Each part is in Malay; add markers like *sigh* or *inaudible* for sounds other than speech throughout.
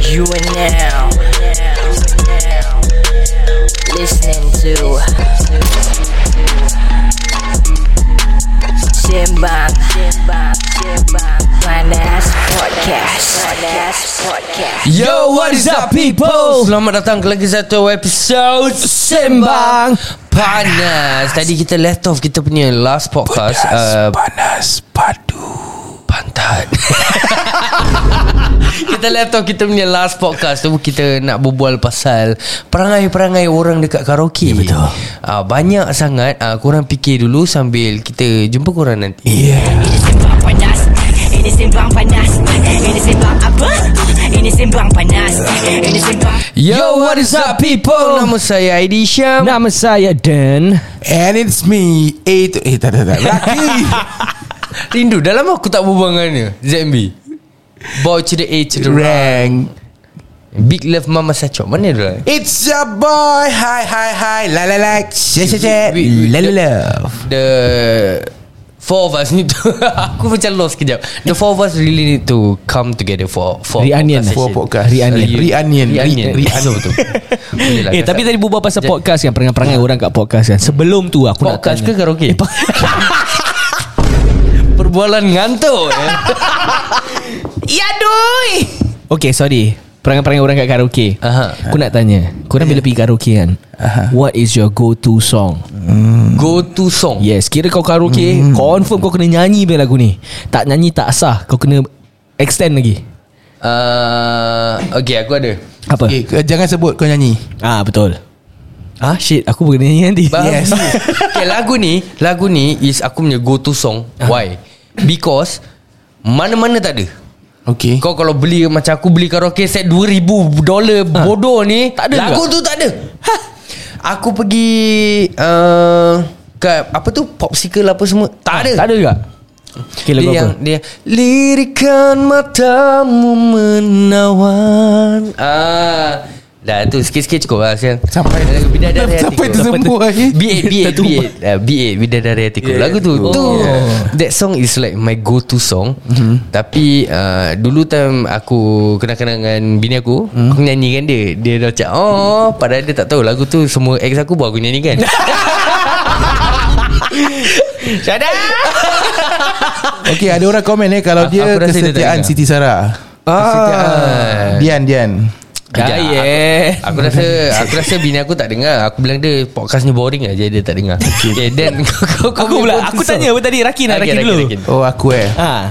You are now listening to Simbang Panas Podcast Panas Podcast Yo, what is up people? Selamat datang ke lagi satu episod Sembang Panas Tadi kita left off kita punya last podcast uh, panas padu. Pantat *laughs* Kita left off kita punya last podcast tu Kita nak berbual pasal Perangai-perangai orang dekat karaoke ya, betul. uh, Banyak sangat uh, Korang fikir dulu sambil kita jumpa korang nanti Yeah. Ini sembang panas Ini sembang panas Ini sembang apa? Ini sembang panas Ini sembang Yo, what is up people? Nama saya Aidy Syam Nama saya Dan And it's me. Eight. Eh, tak, tak, tak. *laughs* Laki. Rindu dalam aku tak berbual dengan dia ZMB Boy to the A to the right. Rank. Big Love Mama Sachok Mana dia lah It's your boy. Hi, hi, hi. La, la, la. Shit, shit, shit. La, la, la. The Four of us need to *laughs* Aku macam lost kejap The four of us really need to Come together for for Reunion. session. For podcast. Reunion Reunion. Reunion Re- Betul betul Boleh lah, *laughs* Eh kata. tapi tadi berbual pasal Jadi- podcast kan Perangai-perangai orang kat podcast kan Sebelum tu aku Ya. nak Podcast ke tanya karaoke eh, *laughs* Perbualan ngantuk eh. Ya doi Okay sorry Perangai-perangai orang kat karaoke Aha. Ya. Aku nak tanya Korang bila pergi karaoke kan What is your go to song Hmm. Go to song Yes Kira kau karaoke Hmm. Confirm kau kena nyanyi bila lagu ni Tak nyanyi tak sah Kau kena extend lagi uh, Okay aku ada Apa? Eh, kau jangan sebut kau nyanyi. Ah betul Ah shit Aku boleh nyanyi nanti Babi. Yes. okay, lagu ni, lagu ni is aku punya go to song. Why? Because mana-mana tak ada. Okay. Kau kalau beli macam aku beli karaoke set 2000 dolar bodoh ni, tak ada Lagu tu tak ada. Ha. Aku pergi uh, kat apa tu popsicle apa semua, *laughs* tak ada. Ah, Tak ada juga Okay lagu Dia apa? yang dia lirikan matamu menawan. Ah. Dah tu sikit-sikit cukup lah Siang Sampai- Lagu Bidadari *laughs* sampai Hatiku. tersembur lagi. B8 B8 Tertumpu. B8 uh, B8 Bidadari Hatiku yeah, Lagu tu, tu That song is like My go to song mm-hmm. Tapi uh, Dulu time aku Kenal-kenal dengan bini aku mm. Aku nyanyikan dia Dia dah macam Oh Padahal dia tak tahu Lagu tu semua ex aku Buat aku nyanyikan Shut up Okay, ada orang komen eh kalau Aku- dia aku rasa dia Ah. tak kesetiaan ingat. Siti Sarah. Kesetiaan. Dian, Dian. Kejap, Aku rasa Aku rasa bini aku tak dengar Aku bilang dia Podcast ni boring aja Dia tak dengar Okay then *laughs* kau, kau, kau Aku pula punya Aku putus tanya apa tadi Rakin lah Okay, Rakin Rakin, dulu Rakin. Oh, aku eh. Ah,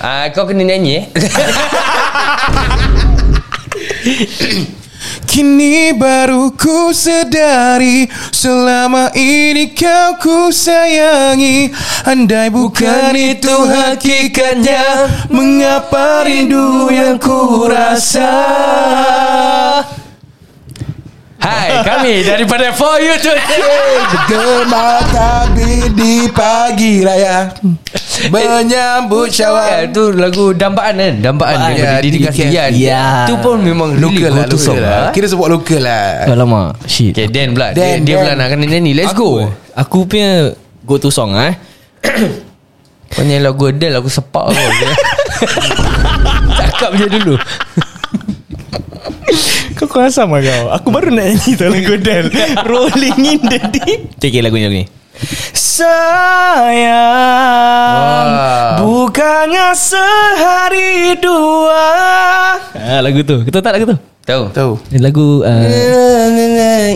Ah, Kau kena nyanyi eh Kini baru ku sedari Selama ini kau ku sayangi Andai bukan itu hakikatnya Mengapa rindu yang ku rasa Hai kami Daripada For You To Gemata di pagi raya Menyambut Ya, syawal tu lagu dambaan kan Dambaan Dambaan, daripada ya, Didi Didi Kasihan Kasihan. Ya. Tu pun memang really Lokal lah, go to lokal song lah lah Kira sebut lokal lah Alamak Shit Okay Dan pula Dia, Dan, dia Dan. eh. pula nak kena nyanyi Let's go Aku punya Go to song eh Kau nyanyi lagu Adele Aku sepak *laughs* kau Cakap je dulu Kau kurang sama kau Aku baru nak nyanyi tu lagu *laughs* Del Rolling in the deep Okay, okay lagunya lagu ni Sayang Wow. Bukannya sehari dua ah, Lagu tu Kau tahu tak lagu tu? Tahu Tahu Eh, Lagu uh,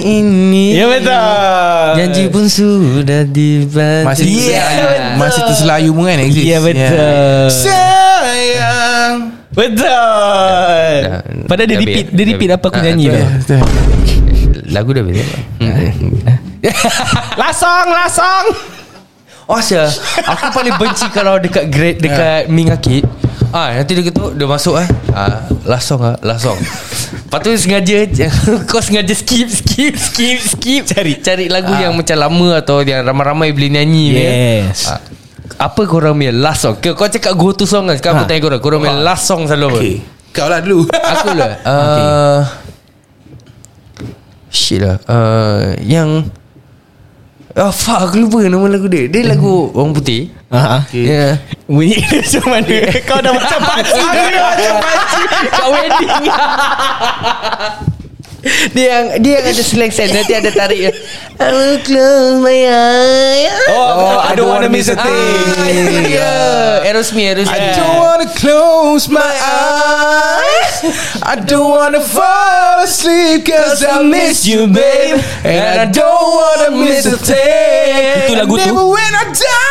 Ini Ya betul Janji pun sudah dibaca Masih Ya, yeah, Masih terselayu pun kan exist Ya betul Sayang Betul Dah- Padahal dia dah repeat habis. Dia Dah repeat habis. apa aku Ah, nyanyi betul. tu Lagu Hmm. dah beza Hmm. Lasong Lasong Oh Syah Aku paling benci Kalau dekat grade Eh. Dekat Mingakit Ah nanti dia ketuk Dia masuk eh ah, Lasong ah Lasong Lepas tu sengaja *laughs* Kau sengaja skip Skip Skip Skip Ah. Cari Cari lagu yang macam lama Atau yang ramai-ramai Boleh nyanyi ni. Yes. Ah, Apa korang punya Last song Kau kau cakap go to song kan Sekarang aku Ha. tanya korang Korang punya last song selalu apa? Okay Kau lah dulu Aku *laughs* lah uh, Shit lah uh, Yang Oh Ah, fuck aku lupa nama lagu dia Dia lagu orang putih Uh-huh. Ah, ah. Ya yeah. Bunyi *laughs* dia macam mana Kau dah macam pakcik Dia macam pakcik Kat wedding Dia yang Dia yang ada slang sound Nanti ada tarik I will close my eyes Oh, I don't wanna miss a thing. Ah, ya, ya. Aerosmith Aerosmith I don't wanna close my eyes I don't wanna fall asleep Cause I miss you babe And I don't wanna miss a thing Itu lagu tu? Never when I die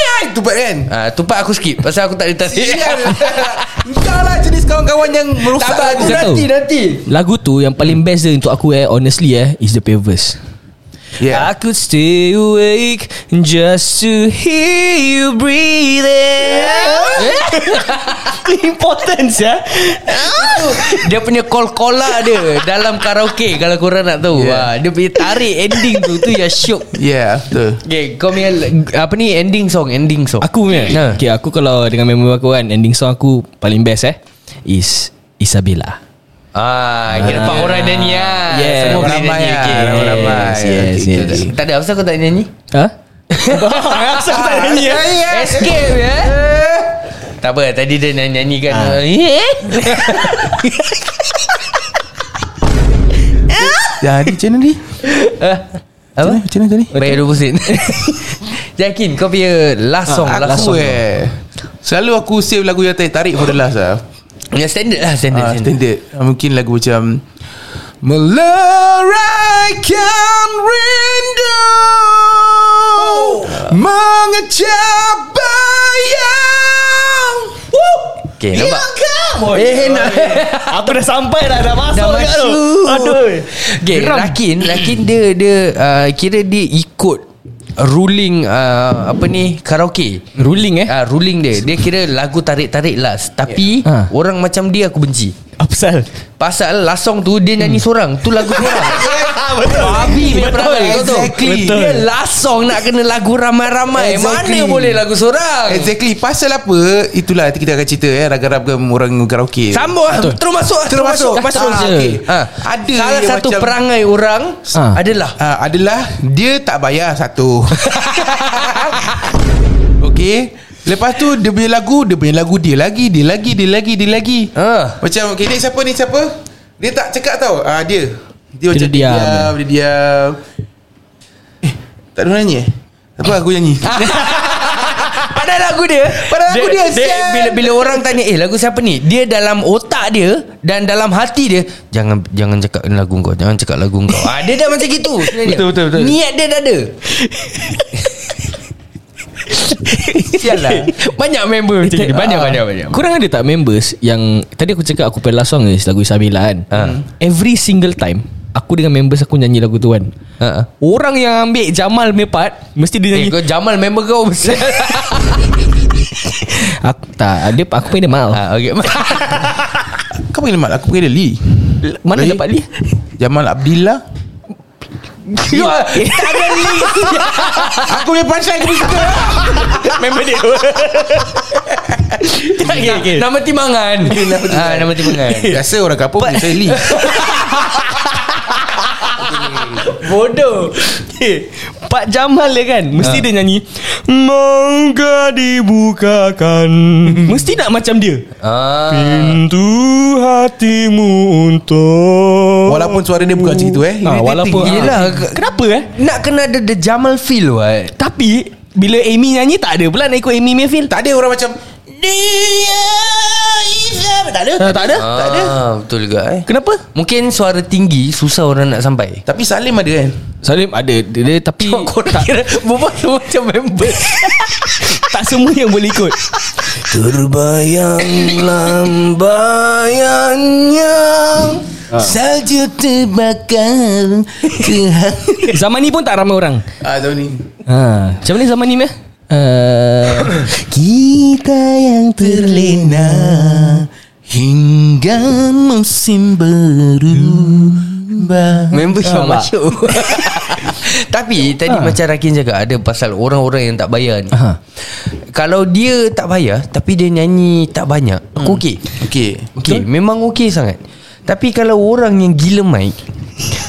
I Tupat kan? Ah, Tupak aku skip Pasal aku tak ada Ya. tarik Kau lah jenis kawan-kawan yang merusak Tak, lagu. aku tak tahu. Nanti nanti Lagu tu yang paling best dia untuk aku eh Honestly eh Is the Pavers Yeah. I could stay awake Just to hear you breathing *laughs* Importance Eh? ya *laughs* Dia punya kol-kola dia Dalam karaoke Kalau korang nak tahu Yeah. yeah. Dia punya tarik ending tu Tu yang syok Yeah Ya, betul Okay kau punya Apa ni ending song Ending song Aku punya Ha. okay, Aku kalau dengan member aku kan Ending song aku Paling best eh Is Isabella Ah, kira empat orang nyanyi ah. Yes. Semua boleh Ramai nyanyi. ah, Okay. ramai-ramai. Yes, yes, Okay, yes. okay. Tak ada apa kau tak nyanyi? Ah, Ha? Asal tak nyanyi Escape ya. Tak apa, tadi dia nak nyanyikan. Ah. Eh? Jadi macam mana ni? Apa? Macam mana tadi? Bayar 20 *laughs* sen. Yakin kau punya last song, last Aku song. eh Selalu aku save lagu yang tarik-tarik For the last lah Ya standard lah, standard. Ah, standard. standard. Ah, Mungkin lagu macam Meleraikan rindu Oh. Mengecap bayang Okay, nampak? Oh, Eh nak Aku dah sampai dah Dah masuk Dah kat tu. masuk. Aduh Okay, Rakin, Rakin dia dia uh, kira dia ikut ruling uh, apa ni karaoke. Ruling eh Ah, ruling dia Dia kira lagu tarik-tarik last Tapi Yeah. yeah. Ha. Orang macam dia aku benci Apa sal Pasal last song tu Dia nyanyi seorang Tu lagu seorang Babi punya perangai kau tu Exactly. Betul. Dia last song Nak kena lagu ramai-ramai Exactly. Mana boleh lagu seorang Exactly Pasal apa Itulah nanti kita akan cerita eh, Ragam-ragam orang karaoke Sambung ah. Terus masuk ah, Terus masuk Masuk Ah, je. okey. ha. Ada Ada Salah yang satu macam- perangai orang Ha. Adalah uh, adalah dia tak bayar satu. *laughs* Okey. Lepas tu dia punya lagu, dia punya lagu dia lagi, dia lagi, dia lagi, dia lagi. Ah. Macam okey ni siapa ni siapa? Dia tak cakap tau. Ah uh, dia. Dia macam dia diam. diam, dia diam. Eh, tak ada orang nyanyi eh? Apa aku *laughs* nyanyi? Pada lagu dia Padahal lagu dia, sial. bila, bila orang tanya Eh lagu siapa ni Dia dalam otak dia Dan dalam hati dia Jangan jangan cakap lagu kau Jangan cakap lagu kau ah, Dia dah macam *laughs* gitu sebenarnya. Betul, betul, betul. Niat dia dah ada *laughs* Sial lah Banyak member macam ni Banyak Ah, banyak banyak Korang ada tak members Yang Tadi aku cakap Aku play last song is Lagu Isabella kan Ha. Every single time Aku dengan members Aku nyanyi lagu tu kan Ha. Orang yang ambil Jamal punya part Mesti dia Eh nyanyi kau Jamal member *laughs* kau besar Aku tak Dia aku panggil dia *laughs* Mal ha, okay. Kau panggil Mat, aku panggil dia Lee. Mana Baik. dapat dia Jamal Abdillah. You are *laughs* Tak ada *laughs* link Aku punya punchline aku suka. Member dia okay, okay. Nama *laughs* timangan Ah, Nama timangan *laughs* Biasa orang kampung panggil saya Lee. Bodoh okay. Pak Jamal dia kan Mesti Ah. ha. dia nyanyi Moga *laughs* dibukakan Mesti nak macam dia Ah, Pintu hatimu untuk Walaupun suara dia bukan macam itu eh. ha, Walaupun irritating. Yelah, ha. Kenapa eh ah. Nak kena ada The Jamal feel what Tapi Bila Amy nyanyi tak ada pula Nak ikut Amy punya feel Tak ada orang macam Dia Islam Tak ada ha, Tak ada Tak ada Ah, Betul juga eh Kenapa Mungkin suara tinggi Susah orang nak sampai Tapi Salim ada kan Salim ada Dia, dia tapi *laughs* tak, kira Berbual tu macam member *laughs* tak semua yang boleh ikut Terbayang lambayannya Ha. Salju terbakar ke *laughs* Zaman ni pun tak ramai orang Ah, tahu ni ha. Macam mana zaman ni meh? Eh, Uh, kita yang Terlena Hingga musim berubah Member yang Nampak? masuk *laughs* Tapi Tadi Ha. macam Rakin cakap Ada pasal orang-orang yang tak bayar ni Aha. Kalau dia tak bayar Tapi dia nyanyi tak banyak Hmm. Aku okey Okay Okey Memang okey sangat Tapi kalau orang yang gila mic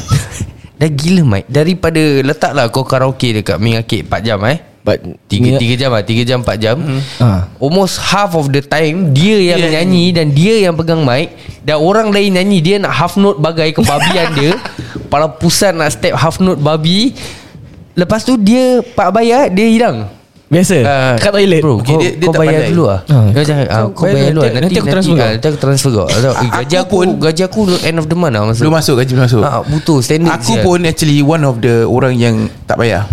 *laughs* Dah gila Mike Daripada letaklah kau karaoke dekat Mingakit 4 jam eh But Tiga, tiga jam lah Tiga jam, empat jam Hmm. Ha. Ah. Almost half of the time Dia yang Dia nyanyi Dan dia yang pegang mic Dan orang lain nyanyi Dia nak half note bagai kebabian *laughs* dia Kepala pusat nak step half note babi Lepas tu dia Pak bayar Dia hilang Biasa Ah, Eh, Kat toilet Bro Okay, kau, dia- dia, dia kau tak bayar pandai. dulu lah Ah, Kau jangan ah, Kau bayar, bayar dulu lah nanti- nanti aku transfer ah, kau. Nanti aku transfer kau Atau, eh, Gaji aku pun- Gaji aku end of the month lah masa Belum masuk gaji belum masuk. Ah, butuh, standard Aku je. pun actually one of the orang yang tak bayar.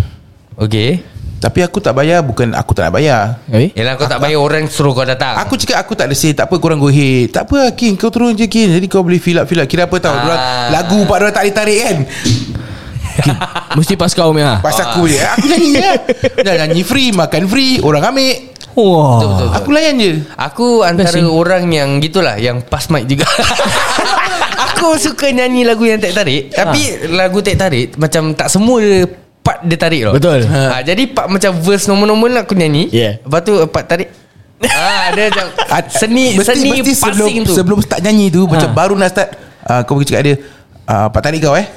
Okay Tapi aku tak bayar bukan aku tak nak bayar. Eh? Yelah kau tak bayar orang suruh kau datang Aku cakap aku tak ada say Tak apa korang go ahead Tak apa King Kau turun je King Jadi kau boleh fill up fill up Kira apa tau Ah. dorang, Lagu buat orang tak ditarik kan Mesti pas kau ah. Mia Pas Ah. aku je Aku nyanyi *laughs* je Dah nyanyi free Makan free Orang ambil Wah Betul, betul, betul. Aku layan je Aku antara Best, eh? orang yang gitulah Yang pas mic juga *laughs* Aku suka nyanyi lagu yang tak tarik Ah. Tapi lagu tak tarik Macam tak semua dia part dia tarik tau Betul. ha, Jadi part macam verse normal-normal lah aku nyanyi Yeah. Lepas tu part *laughs* tarik Ah, dia macam seni Mesti- seni mesti sebelum, passing tu. Ah. Sebelum start nyanyi tu ha. Macam baru nak start uh, Kau pergi cakap dia uh, Pak tarik *laughs* kau eh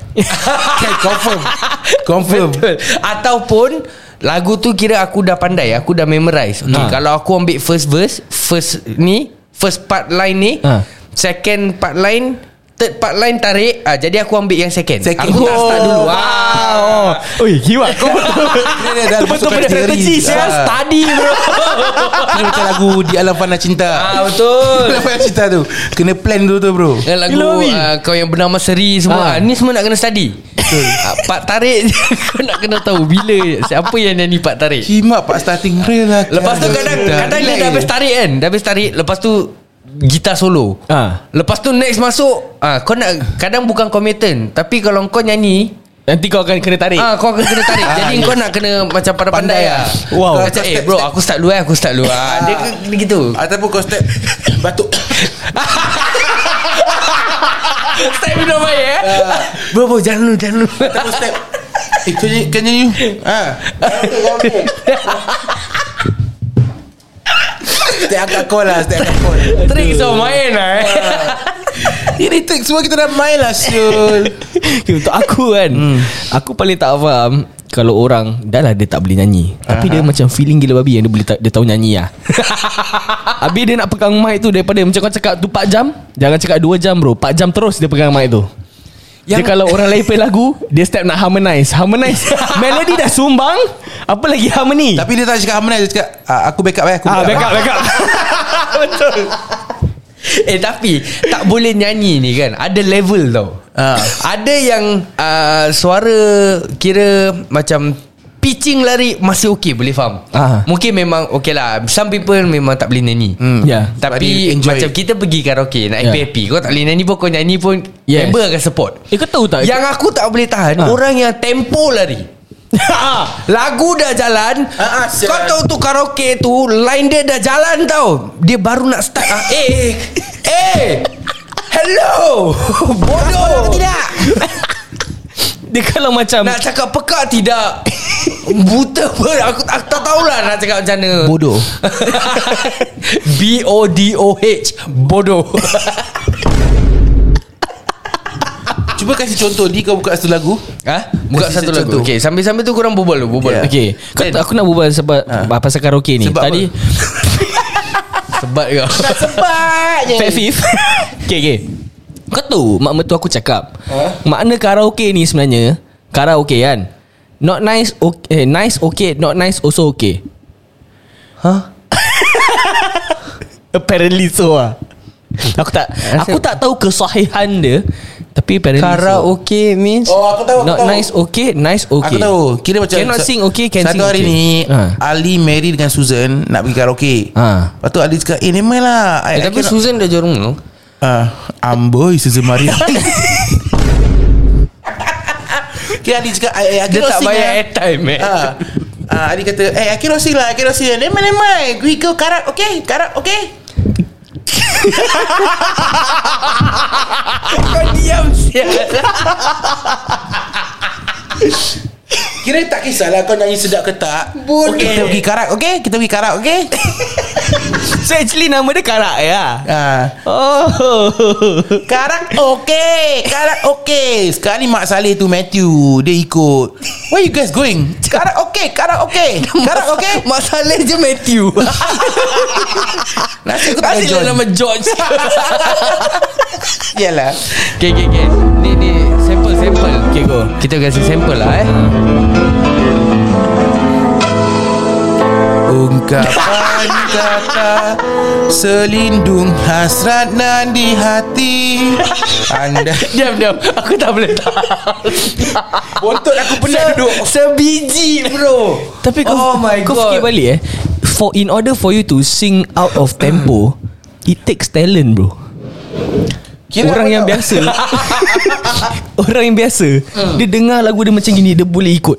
Kan confirm Confirm Betul. Ataupun lagu tu kira aku dah pandai, aku dah memorize. Okay, Ha. kalau aku ambil first verse, first ni, first part line ni, Ha. second part line, third part line tarik. Ah jadi aku ambil yang second. Second. Aku tak start dulu. Wow. Wow. Oh, Oi, gila kau betul. Dia dah Betul masuk punya kategori. strategi ya, saya Ah. study bro. Dia Macam lagu Di Alam Fana Cinta *laughs* Ah betul. Alam Fana Cinta tu Kena plan dulu tu bro Dengan lagu Ilawi. uh, Kau yang bernama seri semua Ah. ha. Ni semua nak kena study Betul Pak tarik je *laughs* Kau nak kena tahu Bila Siapa yang nyanyi Pak tarik Kimak pak starting real lah Lepas tu kadang Kadang dia dah habis tarik kan Dah habis tarik Lepas tu Gitar solo *laughs* Ah. Lepas tu next masuk ah Kau nak Kadang bukan komitan Tapi kalau kau nyanyi Nanti kau akan kena tarik. *laughs* ah Kau akan kena tarik Jadi kau nak kena Macam pada pandai Pandai lah lah. Wow. Kau Macam eh bro Aku start dulu eh Aku start dulu ah. Dia, dia gitu Ataupun kau step Batuk Start minum air eh Bro bro jangan dulu Jangan *laughs* dulu Ataupun step Eh kau nyanyi Kau nyanyi ha. Step angkat call lah Step angkat call Trik so main lah eh Ini trick semua kita dah main lah Syul Okay, *laughs* Untuk aku kan Hmm. Aku paling tak faham Kalau orang Dah lah dia tak boleh nyanyi Tapi dia macam feeling gila babi Yang dia boleh ta- dia tahu nyanyi lah *laughs* Habis dia nak pegang mic tu Daripada macam kau cakap tu 4 jam Jangan cakap 2 jam bro 4 jam terus dia pegang mic tu yang dia Yang- kalau orang lain play lagu Dia step nak harmonize *laughs* Harmonize Melody dah sumbang Apa lagi harmony Tapi dia tak cakap Hamna Dia cakap ah, Aku backup eh Aku Ah, backup, back up, back *laughs* up. *laughs* Eh tapi Tak boleh nyanyi ni kan Ada level tau Ah. Ada yang uh, Suara Kira Macam Pitching lari Masih okey boleh faham Ah. Mungkin memang Okey lah Some people memang tak boleh nyanyi hmm. Ya. Tapi Sebab dia enjoy. Macam kita pergi karaoke Nak Ya. happy-happy Kau tak boleh nyanyi pun Kau nyanyi pun Yes. Member akan support Eh kau tahu tak Yang aku tak boleh tahan Ah. Orang yang tempo lari Lagu dah jalan Ah, ah, sial. Kau tahu tu karaoke tu Line dia dah jalan tau Dia baru nak start ah, Eh Eh Hello Bodoh Tidak *laughs* Dia kalau macam Nak cakap peka tidak Buta pun aku, aku tak tahulah nak cakap macam mana *laughs* Bodoh. B-O-D-O-H *laughs* Bodoh Cuba kasih contoh Di kau buka satu lagu Ha? Buka Kasi satu lagu contoh. Okay sambil-sambil tu korang bobol dulu Bobol Yeah. Okay kau, Kan? Then- tahu- Aku nak berbual sebab Pasal karaoke Eh. ni Ah. Sebab Tadi apa? Sebat kau *laughs* Fat Fifth *laughs* Okay okay Kau tahu Mak mertua aku cakap Ha? Makna karaoke ni sebenarnya Karaoke kan Not nice okay, eh, Nice okay Not nice also okay Ha? Huh? *laughs* Apparently so lah Aku tak Aku tak tahu kesahihan dia Tapi apparently so Karaoke means Oh aku tahu aku Not tahu. nice okay Nice Aku okay tahu Kira macam Cannot sing okay Can Satu sing hari ni okay. Ha. Ali Mary dengan Susan Nak pergi karaoke Ha. Lepas tu Ali cakap Eh ni main lah Eh, I, I tapi cannot- Susan dah jorong tau Ah, Amboi Susan Maria Kira Ali cakap I, I, I Dia cannot tak sing bayar lah. airtime eh Ha. Ah, Ali kata Eh I cannot sing lah I cannot sing lah Never mind never mind We go karat okay Karat okay Kau diam sial Kira tak kisahlah kau nyanyi sedap ke tak Okay, kita pergi karak, okay? Kita pergi karak, *laughs* okay? *laughs* So actually nama dia Karak ya Ha. Oh Karak okay Karak okay Sekali Mak Saleh tu Matthew Dia ikut Where you guys going? Karak okay Karak okay Karak okay Masalah je Matthew *laughs* Nasib aku tak ada Asyik John lah nama George *laughs* Yalah Okay, okay, okay. Ni, ni, sample, sample. Okay go Kita kasi sample lah, eh. Ungkapan kata Selindung hasrat nan di hati *laughs* Anda Diam, diam. Aku tak boleh tak. Bontot aku penat duduk Sebiji, bro. Tapi kau Oh my Kau God. fikir balik eh For in order for you to sing out of tempo It takes talent bro Kira Orang apa yang *laughs* tau? biasa Orang yang biasa Hmm. Dia dengar lagu dia macam gini Dia boleh ikut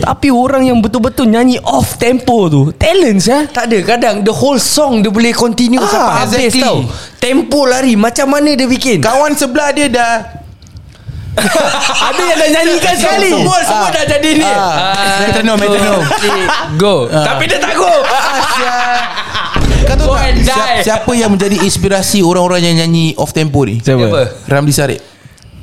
Tapi orang yang betul-betul nyanyi off tempo tu Talent ya Tak ada kadang the whole song dia boleh continue ah, sampai habis exactly. exactly. tau. Tempo lari macam mana dia bikin? Kawan sebelah dia dah Ada yang dah nyanyikan sekali Semua- semua dah jadi ni. Ah, Metronom, metronom. Go. Ah. Tapi dia tak go. Kau tahu Go tak and die. siapa, siapa yang menjadi inspirasi Orang-orang yang nyanyi Off tempo ni Siapa? Ramli Sarip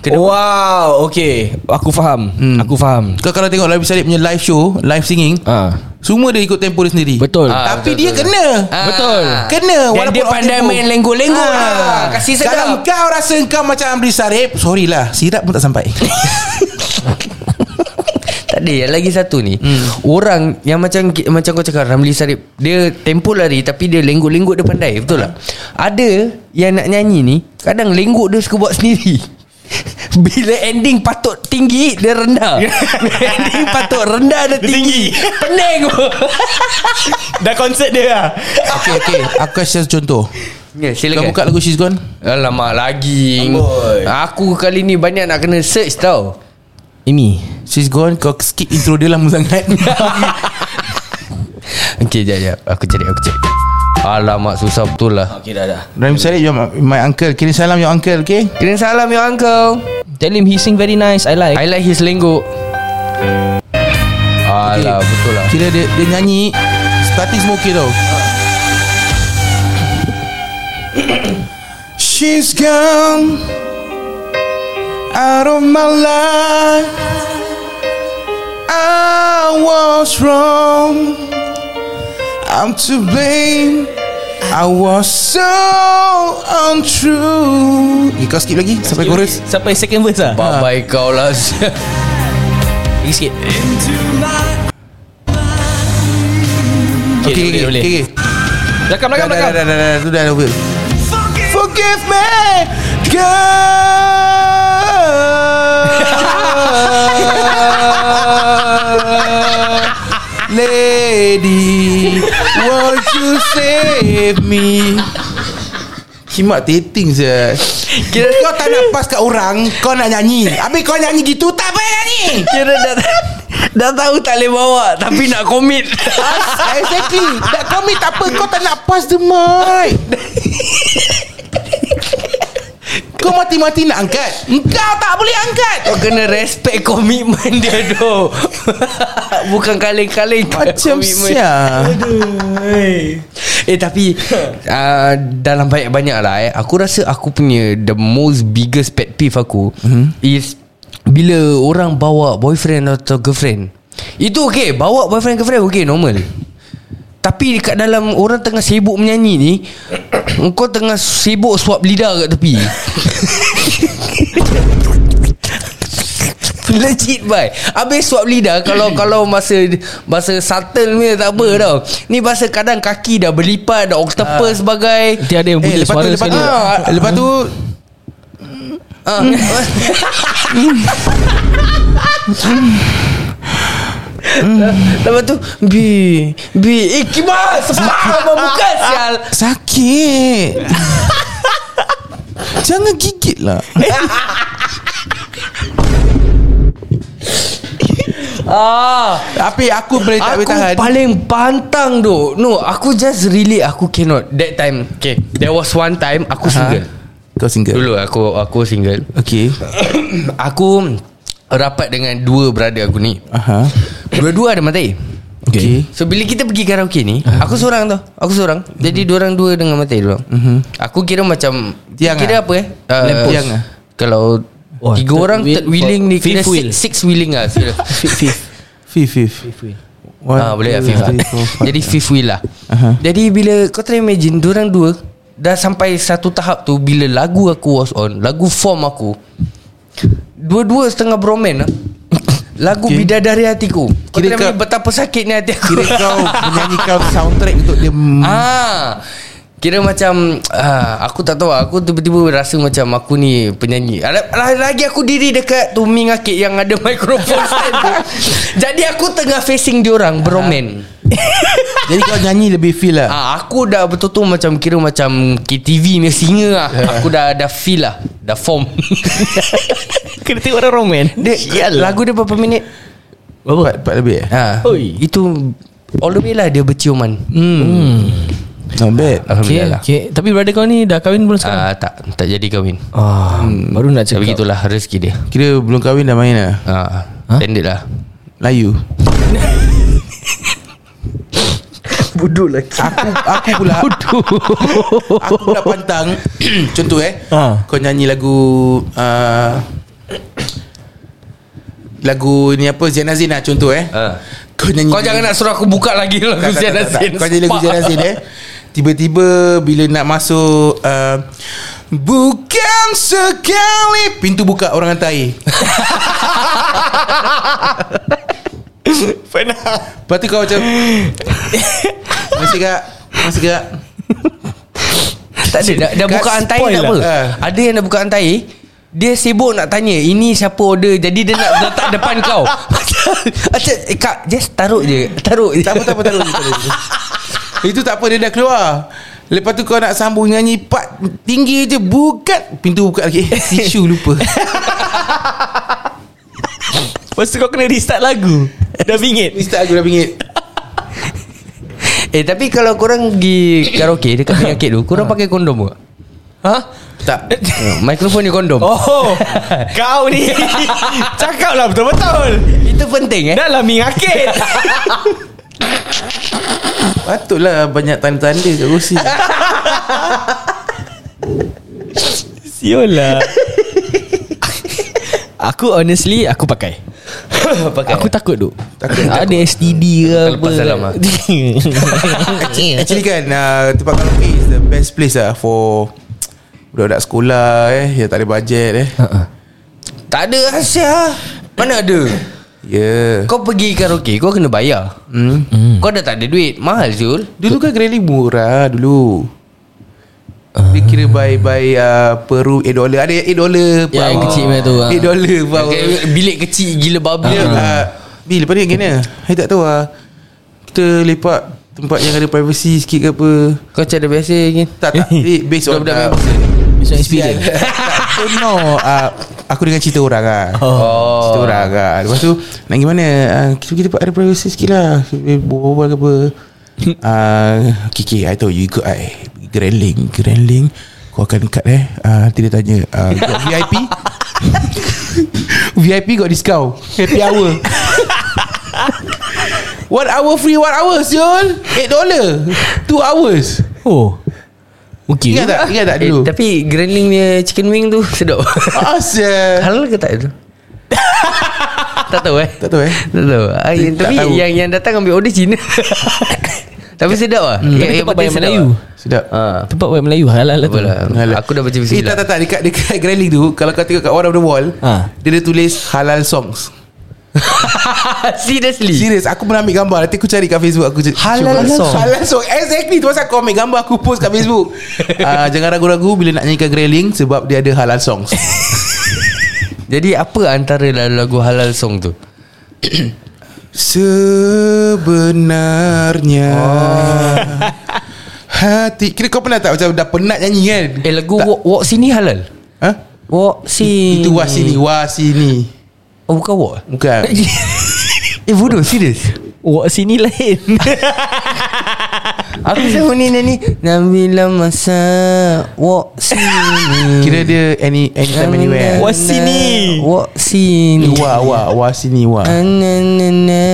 Oh, Wow Okay Aku faham Aku Hmm. faham Kau kalau tengok Ramli Sarip punya live show Live singing Ah, Semua dia ikut tempo dia sendiri Betul Ah, Tapi betul, dia betul. Ah. kena Betul. Kena Dan walaupun dia off pandai tempo. Ah. main lenggok-lenggok lah. Kasih sedap. Kalau kau rasa kau macam Amri Sarip Sorry lah Sirap pun tak *laughs* sampai Tak ada yang lagi satu ni. Hmm. Orang yang macam macam kau cakap Ramli Sarip, dia tempo lari tapi dia lenggok-lenggok dia pandai, betul tak? Ada yang nak nyanyi ni, kadang lenggok dia suka buat sendiri. *laughs* Bila ending patut tinggi Dia rendah Bila ending patut rendah Dia tinggi, *laughs* Pening Dah konsert dia lah Okay okay Aku kasih satu contoh Ya Kau silakan buka lagu She's Gone Alamak lagi Amboi. Aku kali ni banyak nak kena search tau Ini She's Gone Kau skip intro dia lama *laughs* sangat Okay jap jap Aku cari aku cari Alamak susah betul lah Okay dah dah Ramli Sarip you're my, my uncle Kini salam your uncle okay Kena salam your uncle Tell him he sing very nice I like I like his lenggok Alah betul lah Kira dia, dia nyanyi Starting semua okay tau *coughs* She's gone Out of my life I was wrong I'm to blame I was so untrue Ni Eh, kau skip lagi sampai chorus Sampai second verse lah Bye bye kau lah Lagi sikit Okay, okay, okay, okay. Belakang Dah, dah, belakang belakang dah, dah, dah, tu dah level. Forgive me, girl. Lady, won't you save me? Kimak dating je Kira kau tak nak pas kat orang Kau nak nyanyi Habis kau nyanyi gitu Tak payah nyanyi Kira dah *laughs* Dah tahu tak boleh bawa Tapi nak commit Exactly Tak komit tak apa Kau tak nak pass the mic Kau mati-mati nak angkat Engkau tak boleh angkat Kau kena respect komitmen dia doh *laughs* Bukan kaleng-kaleng Macam siapa Eh tapi uh, Dalam banyak-banyak lah eh, Aku rasa aku punya The most biggest pet peeve aku mm-hmm. Is Bila orang bawa boyfriend atau girlfriend Itu okay Bawa boyfriend girlfriend okay normal Tapi dekat dalam Orang tengah sibuk menyanyi ni *coughs* Kau tengah sibuk suap lidah kat tepi *laughs* Legit bye Habis suap lidah Kalau *coughs* kalau masa Masa subtle ni tak apa Hmm. tau Ni masa kadang kaki dah berlipat Dah octopus sebagai Ah. Nanti ada yang Eh bunyi lepas suara tu lepas tu, sekali ah, lepas tu ah. Lepas tu B B Eh kibas Sebab *laughs* Bukan sial Sakit *laughs* Jangan gigit lah Ah Tapi aku boleh Aku tak boleh tahan paling pantang doh. No Aku just relate Aku cannot That time Okay There was one time Aku Ha? single Kau single Dulu *coughs* aku aku single Okay Aku rapat dengan dua brother aku ni. Aha. Dua-dua ada mata air. Okay. So bila kita pergi karaoke ni Aku seorang tau Aku seorang Jadi Mhm. orang dua dengan mata air dorang. Aku kira macam Tiang Kira ah? apa eh Ah, Lamp post. Tiang ah? Kalau Wah, Tiga third orang wheel, third wheeling ni Kira fifth wheel. six, six wheeling lah kira. *laughs* Fifth Fifth Fifth, fifth. One, ah, Boleh lah two, fifth lah three, four, *laughs* five. Uh-huh. Jadi fifth wheel lah Aha. Jadi bila Kau try imagine Diorang dua Dah sampai satu tahap tu Bila lagu aku was on Lagu form aku Dua-dua setengah broman *laughs* lah Lagu Okay. bidadari hatiku Kau try Kira imagine kau- betapa sakitnya hati aku Kira *laughs* Hmm. kau menyanyikan soundtrack untuk dia Ah. Kira macam ah, Aku tak tahu lah. Aku tiba-tiba rasa macam Aku ni penyanyi Ala- ala- Lagi aku diri dekat Tumi ngakit yang ada *laughs* mikrofon stand *laughs* tu Jadi aku tengah facing diorang Ah. Beromen Jadi kau nyanyi lebih feel lah ah, Aku dah betul-betul macam Kira macam KTV ni singer lah Aku dah dah feel lah Dah form *laughs* Kena tengok orang roman dia, Lagu dia berapa minit? Empat, empat lebih eh Ah, Oi. Itu All the way lah dia berciuman Not bad Okay, Alhamdulillah okay. Tapi brother kau ni Dah kahwin belum lah sekarang? ah, Tak tak jadi kahwin Ah, Baru nak Tapi cakap itulah rezeki dia Kira belum kahwin dah main lah Ah, Ha? Standard lah Layu *laughs* Bodoh lagi Aku, aku *laughs* pula Aku pula pantang *clears throat* Contoh eh Ha. Kau nyanyi lagu uh, Lagu ni apa Zain Azin lah contoh eh Ha. Kau nyanyi Kau jangan nak suruh aku buka lagi lah lagu Zain Tak, tak, tak, tak, tak. Azin. Kau nyanyi lagu Sepak. Zain Azin eh *laughs* Tiba-tiba bila nak masuk uh, Bukan sekali Pintu buka orang hantar *laughs* air Pernah Lepas tu kau macam Masih kak Masih kak Tak ada dah, dah Kat buka antai spoil tak lah. apa. Ha. Ada yang dah buka antai dia sibuk nak tanya Ini siapa order Jadi dia nak letak depan *laughs* kau Macam eh, Kak Just taruh je Taruh je Tak apa tak apa taruh je, taruh je. Itu tak apa dia dah keluar Lepas tu kau nak sambung nyanyi Part tinggi je Bukan Pintu buka lagi *laughs* Eh tisu lupa Lepas tu kau kena restart lagu Dah bingit Mesti aku dah bingit *laughs* Eh tapi kalau korang pergi Karaoke Dekat penyakit tu Korang pakai kondom ke? Ha? Tak Ha, Mikrofon ni kondom Oh Kau ni Cakap lah betul-betul Itu penting eh Dah lah mingakit Patutlah banyak tanda-tanda kat *laughs* kursi Ya, Siul lah Aku honestly Aku *laughs* pakai Pakai. Aku takut duk Takut, Ada STD ke apa Terlepas salam lah. Actually kan uh, Tempat karaoke is the best place lah For Budak-budak sekolah eh Yang tak ada bajet eh Ha. Tak ada Asia Mana ada Ya yeah. Kau pergi karaoke Kau kena bayar hmm. Kau dah tak ada duit Mahal Zul Dulu kan Grelly murah dulu Ah. Dia kira by by uh, per room 8 dollar Ada 8 dollar per Ya, yang kecil punya tu, ah. 8 dollar per hour Pakai Bilik kecil gila babi Dia uh, Bil lepas ni kena Saya tak tahu lah Kita lepak Tempat yang ada privacy sikit ke apa Kau cara biasa kan Tak tak Eh, Based on Budak-budak main Based on experience. *laughs* So no uh, Aku dengar cerita orang lah Oh. Cerita orang lah Lepas tu Nak gimana uh, Kita kita dapat ada privacy sikit lah Eh, Berbual-bual ke apa uh, Okay okay I tahu you got I Grandling Grandling Kau akan dekat eh uh, Nanti dia tanya uh, got *laughs* VIP VIP got discount Happy hour *laughs* One hour free One hour Siul Eight dollar Two hours *laughs* Oh Okay Ingat tak Ingat tak Eh, dulu Ah, tapi Grandling punya chicken wing tu *laughs* sedap. Asyik Halal ke tak tu? *laughs* tak tahu eh. Tak tahu eh Tak tahu. Ah, yang, Tak tapi tahu. yang yang datang ambil order *laughs* Cina. tapi sedap ah. Hmm. Tapi tempat banyak Melayu Sedap Ah. Tempat buat Melayu halal lah tu Apalah. Aku dah baca Eh tak bismillah. tak tak Dekat, dekat Grelling tu Kalau kau tengok kat one of the wall Ah. Ha. Dia ada tulis Halal songs *laughs* Seriously. Serius Aku pernah ambil gambar Nanti aku cari kat Facebook aku cari, Halal song. Halal song Exactly Tu pasal aku ambil gambar Aku post kat *laughs* Facebook Ah, Jangan ragu-ragu Bila nak nyanyikan Grelling Sebab dia ada halal songs Jadi apa antara lah lagu halal song tu? Sebenarnya *laughs* Hati Kira kau pernah tak Macam dah penat nyanyi kan Eh lagu Tak. walk, walk sini halal. ha? Walk sini. Itu wah sini Wah sini Oh bukan walk. *laughs* Bukan Oh, Eh bodoh serius. Wak sini lain Aku selalu ni nyanyi Nabila masa *laughs* Walk sini Kira dia any anytime anywhere. Walk sini. Walk sini Wah wah wah sini wah. Ah, Na na na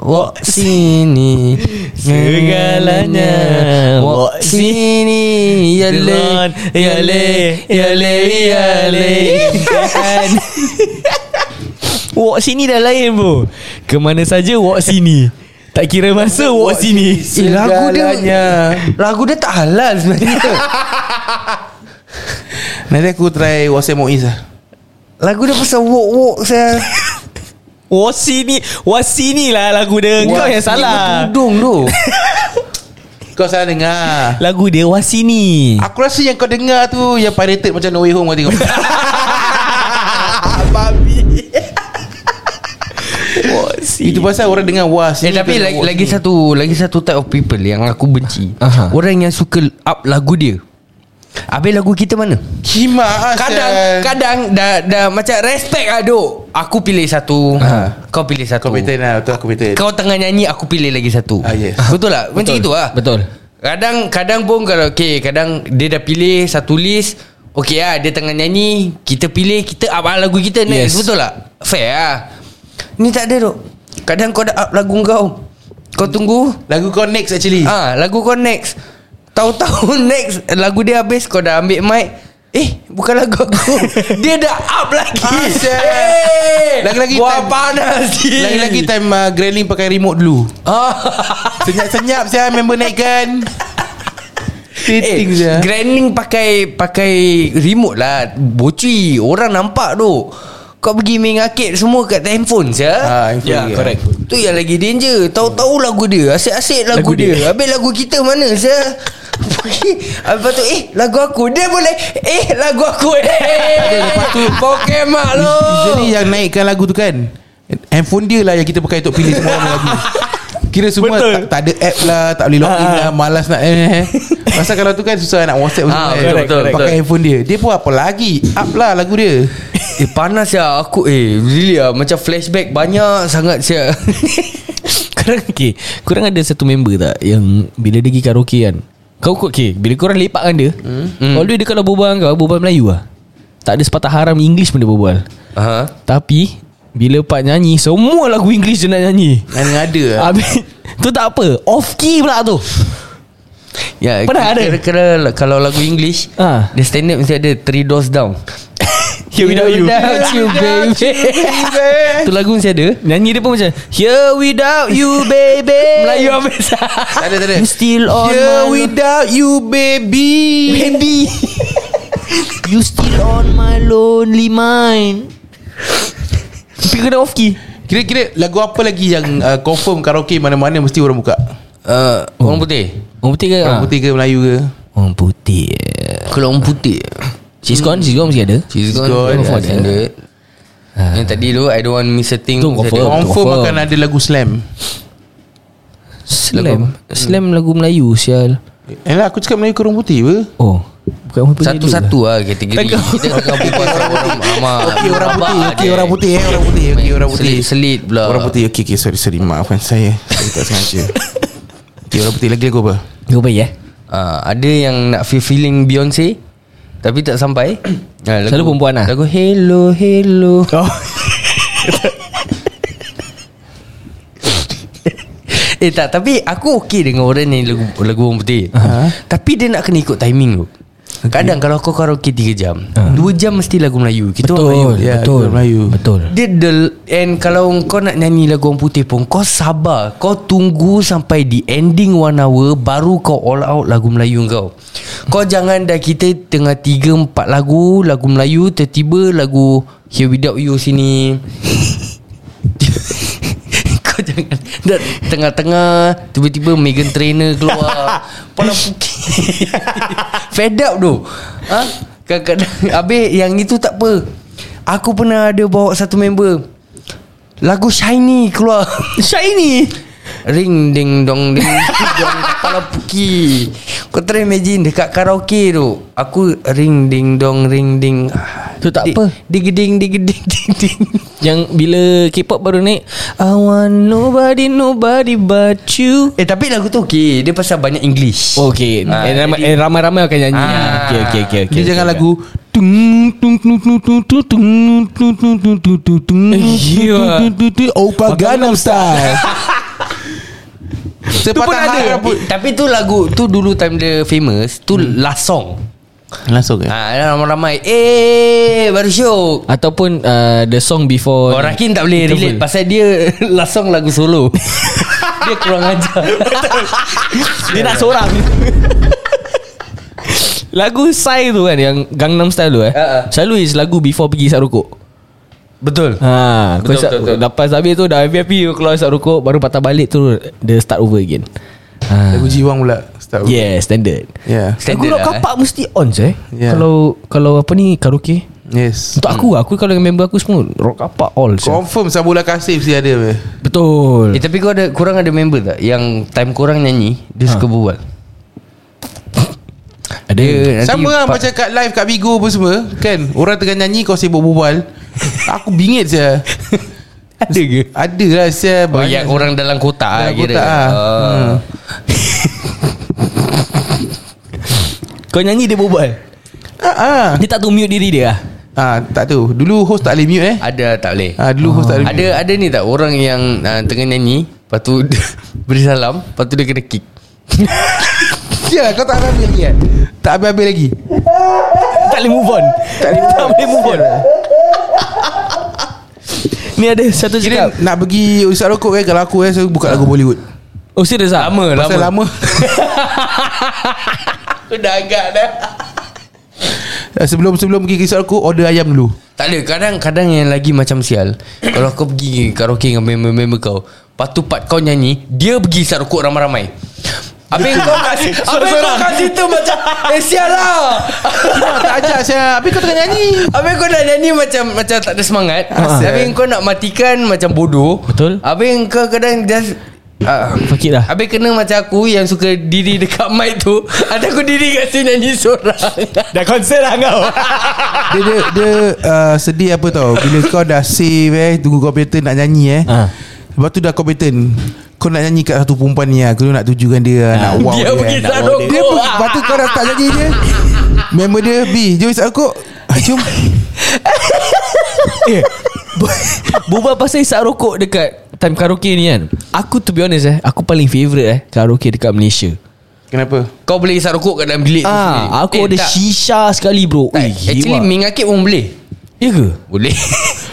Walk sini Segalanya Walk sini Yale Yale Yale *laughs* Yale Kan *laughs* Walk sini dah lain bro Kemana saja walk sini Tak kira masa walk sini Eh, lagu dia Segalanya. Lagu dia tak halal sebenarnya Nanti aku try WhatsApp Moiz lah. Lagu dia pasal walk-walk saya Walk sini Walk sini lah lagu dia Kau yang salah Tudung tu Kau salah dengar. Lagu dia walk sini Aku rasa yang kau dengar tu yang pirated macam No Way Home kau tengok. Walk sini Itu pasal orang dengar wah Eh sini. tapi kau lagi, walk lagi sini. satu Lagi satu type of people Yang aku benci Aha. Orang yang suka Up lagu dia Habis lagu kita mana? Kimak ah, Kadang sial. Kadang dah, dah Macam respect lah duk Aku pilih satu Aha. Kau pilih satu Kau pattern lah Betul aku pattern Kau tengah nyanyi Aku pilih lagi satu Ah, yes. Betul lah Macam itu lah Betul Kadang Kadang pun kalau Okay Kadang dia dah pilih Satu list Okay lah Dia tengah nyanyi Kita pilih Kita up lah lagu kita next yes. Yes. Betul lah Fair lah Ni tak ada dok Kadang kau dah up lagu kau Kau tunggu Lagu kau next actually Ah, lagu kau next Tahu-tahu *laughs* next Lagu dia habis Kau dah ambil mic Eh bukan lagu aku *laughs* Dia dah up lagi Ah, sial. Eh, Lagi-lagi Buah time- panas ni. Lagi-lagi time uh, Grailing pakai remote dulu ah. *laughs* Senyap-senyap saya Member naikkan Eh, Fitting je grinding pakai Pakai remote lah Bocui Orang nampak tu Kau pergi main arcade Semua kat handphone je Ah, handphone Ya dia. correct Tu yang lagi danger Tahu-tahu lagu dia Asyik-asyik lagu, Lagu dia. dia. Habis lagu kita mana je Lepas tu Eh lagu aku Dia boleh Eh lagu aku Eh lepas tu- Pokemak lo Usually yang naikkan lagu tu kan Handphone dia lah Yang kita pakai Untuk pilih semua orang lagu Kira semua Betul. Ah, tak, tak ada app lah Tak boleh login lah Malas nak eh. eh. Pasal kalau tu kan Susah nak whatsapp Ah, semua kan. betul, betul, Pakai betul. handphone dia Dia pun apa lagi Up lah lagu dia Eh panas ya aku eh really ah macam flashback banyak sangat *laughs* sia. Korang okay Korang ada satu member tak Yang bila dia pergi karaoke kan Kau kot okay Bila korang lepak kan dia hmm. All the way dia kalau berbual dengan kau Berbual Melayu lah Tak ada sepatah haram English pun dia berbual Aha. Tapi Bila part nyanyi Semua lagu English dia nak nyanyi Dan ada lah Habis *laughs* Tu tak apa Off key pula tu Ya, Pernah ada? Kira-kira kalau lagu English, Ah. dia stand up mesti ada three doors down. Here *laughs* without you Without you, *laughs* baby. Tu lagu mesti ada. Nyanyi dia pun macam Here without you baby Melayu *laughs* habis. Tak ada tak ada I'm still on Here my without you baby Baby You still on my lonely mind Tapi kena off key Kira-kira lagu apa lagi yang uh, confirm karaoke mana-mana mesti orang buka? *laughs* Uh, orang putih. Orang putih ke? Ah. Ah. Orang putih ke Melayu ke? Orang putih Kalau orang putih. She's gone She's gone mesti ada She's gone. Ah. Gone. She's gone. Yang tadi tu I don't want miss a thing Tu mesti confirm. ada. Betul, Confirm confirm. akan ada lagu slam. Slam Slam lagu Melayu Sial Eh lah aku cakap Melayu ke orang putih apa? Oh Bukan orang putih Satu-satu lah kategori Tengok. Kita *laughs* tengah berbual pasal orang amat Okey orang putih, okey orang putih eh, orang putih, okey orang putih. Selit, selit pula Orang putih, okey okey sorry sorry maafkan saya. Saya tak sengaja. Okey orang putih lagi lagu apa? Kau baik eh Ah, ada yang nak feel feeling Beyonce tapi tak sampai. *coughs* Ah, Selalu perempuan lah. Lagu Hello Hello. Oh *laughs* Eh tak tapi aku okey dengan orang yang lagu lagu orang putih. Uh-huh. Tapi dia nak kena ikut timing tu. Kadang kalau kau karaoke 3 jam, 2 jam mesti lagu Melayu. Kita orang Melayu. Betul Ya, Betul orang Melayu. Betul Dia the, And kalau kau nak nyanyi lagu orang putih pun Kau sabar Kau tunggu sampai di ending one hour Baru kau all out lagu Melayu kau Kau jangan dah kita tengah tiga empat lagu Lagu Melayu Tiba-tiba lagu Here Without You sini *laughs* Kau jangan dah Tengah-tengah Tiba-tiba Megan Trainer keluar Pala pukul Fed up tu ha? Kadang-kadang Habis yang itu tak apa Aku pernah ada bawa satu member Lagu Shiny keluar *laughs* Shiny Ring ding dong ding *laughs* dong Kepala puki Kau try imagine Dekat karaoke tu Aku ring ding dong ring ding Ah, Tu tak Di- apa. Digeding digeding *laughs* digeding. Yang bila K-pop baru naik I want nobody Nobody but you Eh tapi lagu tu okey, dia pasal banyak English. Okay Ah, eh, ramai- eh, jadi- Ramai-ramai akan Ah. nyanyi ah. Okay okay okay, okay Dia jangan okay. *laughs* lagu tung tung tung tung tung tung tung tung tung tung tung tung tung Yeah. tung tung tung Opa Gangnam Style. Patah Sepatah hati. harapan pun Tapi tu lagu tu dulu time dia famous, tu hmm. last song. Langsung ke? Ha, ramai-ramai Eh baru syok Ataupun uh, The song before Orang Rakin tak boleh Interval. relate Pasal dia *laughs* Last song lagu solo Dia kurang ajar *laughs* Dia nak seorang *laughs* Lagu Psy tu kan Yang Gangnam Style tu eh Ha, ha. Selalu is lagu Before pergi isap rokok Betul Ha, Betul, betul, betul, betul, betul. Lepas habis tu Dah happy-happy you Keluar isap rokok Baru patah balik tu Dia start over again ha. Lagu Jiwang pula start. with. Yeah standard Yeah. Lagu Standard rock lah, eh. kapak mesti on je eh. Yeah. Kalau Kalau apa ni Karaoke Yes. Untuk aku Aku kalau dengan member aku semua Rock kapak all je Confirm Sabula Kasif si ada weh. Betul Eh tapi kau ada Kurang ada member tak Yang time kurang nyanyi Dia suka berbual Ada Dia nanti Sama lah pa- macam kat live kat Bigo apa semua Kan Orang tengah nyanyi kau sibuk berbual Aku bingit je Ada ke Ada lah saya Oh yang orang dalam kotak lah Dalam kira kotak lah. Ah. Kau nyanyi dia berbual ah, ah. Dia tak tahu mute diri dia lah ah, Tak tu Dulu host tak boleh mute eh Ada tak boleh ah, Dulu host tak boleh mute Ada ada ni tak Orang yang ah, Tengah nyanyi Lepas tu *laughs* dia Beri salam Lepas tu dia kena kick Sial kau tak habis lagi kan Tak habis-habis lagi Tak boleh move on Tak boleh, tak boleh move on *laughs* Ni ada satu Kira cakap nak pergi usap rokok kan Kalau aku eh Saya buka lagu Bollywood Oh serius lah Lama Pasal lama *laughs* Aku dah agak dah Sebelum-sebelum pergi usap rokok Order ayam dulu Tak ada Kadang-kadang yang lagi macam sial *coughs* Kalau kau pergi karaoke Dengan member-member kau Lepas tu part kau nyanyi Dia pergi isap rokok ramai-ramai Habis *laughs* kau kat Habis kau kat situ macam Eh sial lah Ah, Tak ajak saya Habis kau tengah nyanyi Habis kau nak nyanyi macam Macam tak ada semangat Ah. Habis kau nak matikan Macam bodoh Betul. Habis kau kadang just uh, Fuck it lah Habis kena macam aku Yang suka diri dekat mic tu Ada aku diri kat sini nyanyi *laughs* seorang *laughs* Dah concern lah *laughs* kau Dia dia, dia uh, sedih apa tau Bila kau dah save eh Tunggu kau pattern nak nyanyi eh ha. Ah. Lepas tu dah kau pattern Kau nak nyanyi kat satu perempuan ni lah Kau nak tujukan dia ha. Nak wow Dia pergi nak isap wow rokok. dia. pergi- Lepas tu kau dah start nyanyi dia Member dia B Jom isap rokok Ah, Jom Eh Berbual pasal isap rokok dekat Time karaoke ni kan Aku to be honest eh Aku paling favourite eh Karaoke dekat Malaysia Kenapa? Kau boleh isap rokok kat dalam bilik tu sendiri Ah, Eh, Aku Eh, ada tak. shisha sekali bro Tak, Actually mengakit pun boleh Ya ke? Boleh *laughs*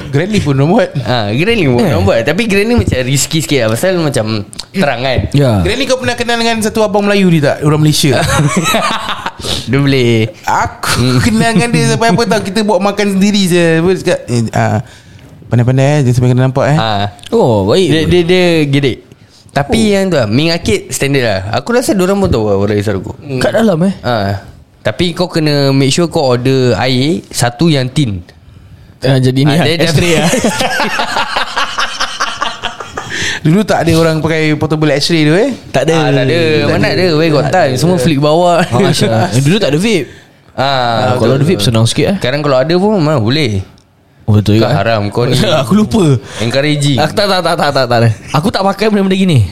Granny pun dah buat ha, Granny pun Eh. yeah. buat Tapi Granny macam risky sikit lah Pasal macam terang kan Ya Granny kau pernah kenal dengan satu abang Melayu ni tak? Orang Malaysia Dia boleh Aku kenal dengan dia sampai apa tau Kita buat makan sendiri je Apa dia cakap eh, ah, Pandai-pandai eh Jangan sampai kena nampak eh ha. Oh baik Dia dia, dia gedik Tapi oh. yang tu lah Mengakit standard lah Aku rasa diorang pun tahu lah Orang isap rokok Kat dalam eh ha. Tapi kau kena make sure kau order air Satu yang tin Ah, Jadi ni Ah, lah dia- dia- X-ray lah Dulu tak ada orang pakai portable x-ray tu eh Tak ada *laughs* Ah, tak ada Mana ada Oh, Where got time Semua flick bawah Ah, *laughs* Aisyah. Dulu tak ada vape Ah, Ah, Kalau ada betul. vape senang sikit eh Sekarang kalau ada pun mana boleh Oh betul Kau juga eh. haram kau *laughs* ni Aku lupa Encouraging Aku tak tak tak tak tak, tak ada. Aku tak pakai benda-benda gini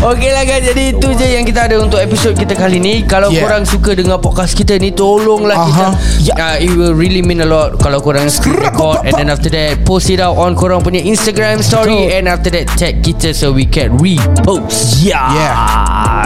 Okey lah guys Jadi itu je yang kita ada Untuk episod kita kali ni Kalau yeah. Yeah. korang suka dengar podcast kita ni Tolonglah kita Aha. yeah. uh, It will really mean a lot Kalau korang record And then after that Post it out on korang punya Instagram story Betul. And after that Tag kita so we can repost Yeah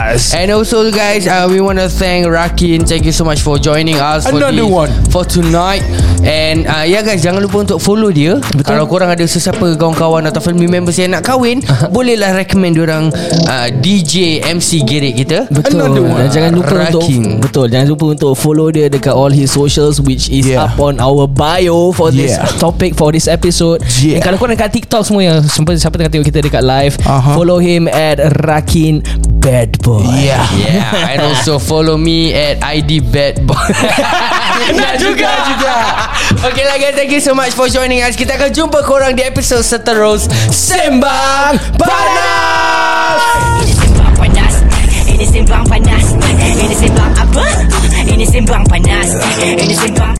Yes. And also guys uh, We want to thank Rakin Thank you so much for joining us for Another this- one. For tonight And uh, ya yeah guys Jangan lupa untuk follow dia Betul. Kalau korang ada sesiapa Kawan-kawan atau family members Yang nak kahwin Bolehlah recommend orang uh, DJ MC Gerek kita Betul Dan jangan lupa untuk Rakin Betul Jangan lupa untuk follow dia Dekat all his socials Which is Yeah. up on our bio For this Yeah. topic For this episode Yeah. And kalau korang kat TikTok semua yang Siapa, siapa tengah tengok kita dekat live Aha. Follow him at Rakin Bad Boy Yeah Yeah And also follow me At ID Bad *laughs* Boy Nak juga juga Okay lah guys Thank you so much for joining us Kita akan jumpa korang Di episod seterus Sembang Ini Panas sembang panas Ini sembang panas Ini sembang apa? Ini sembang panas Ini sembang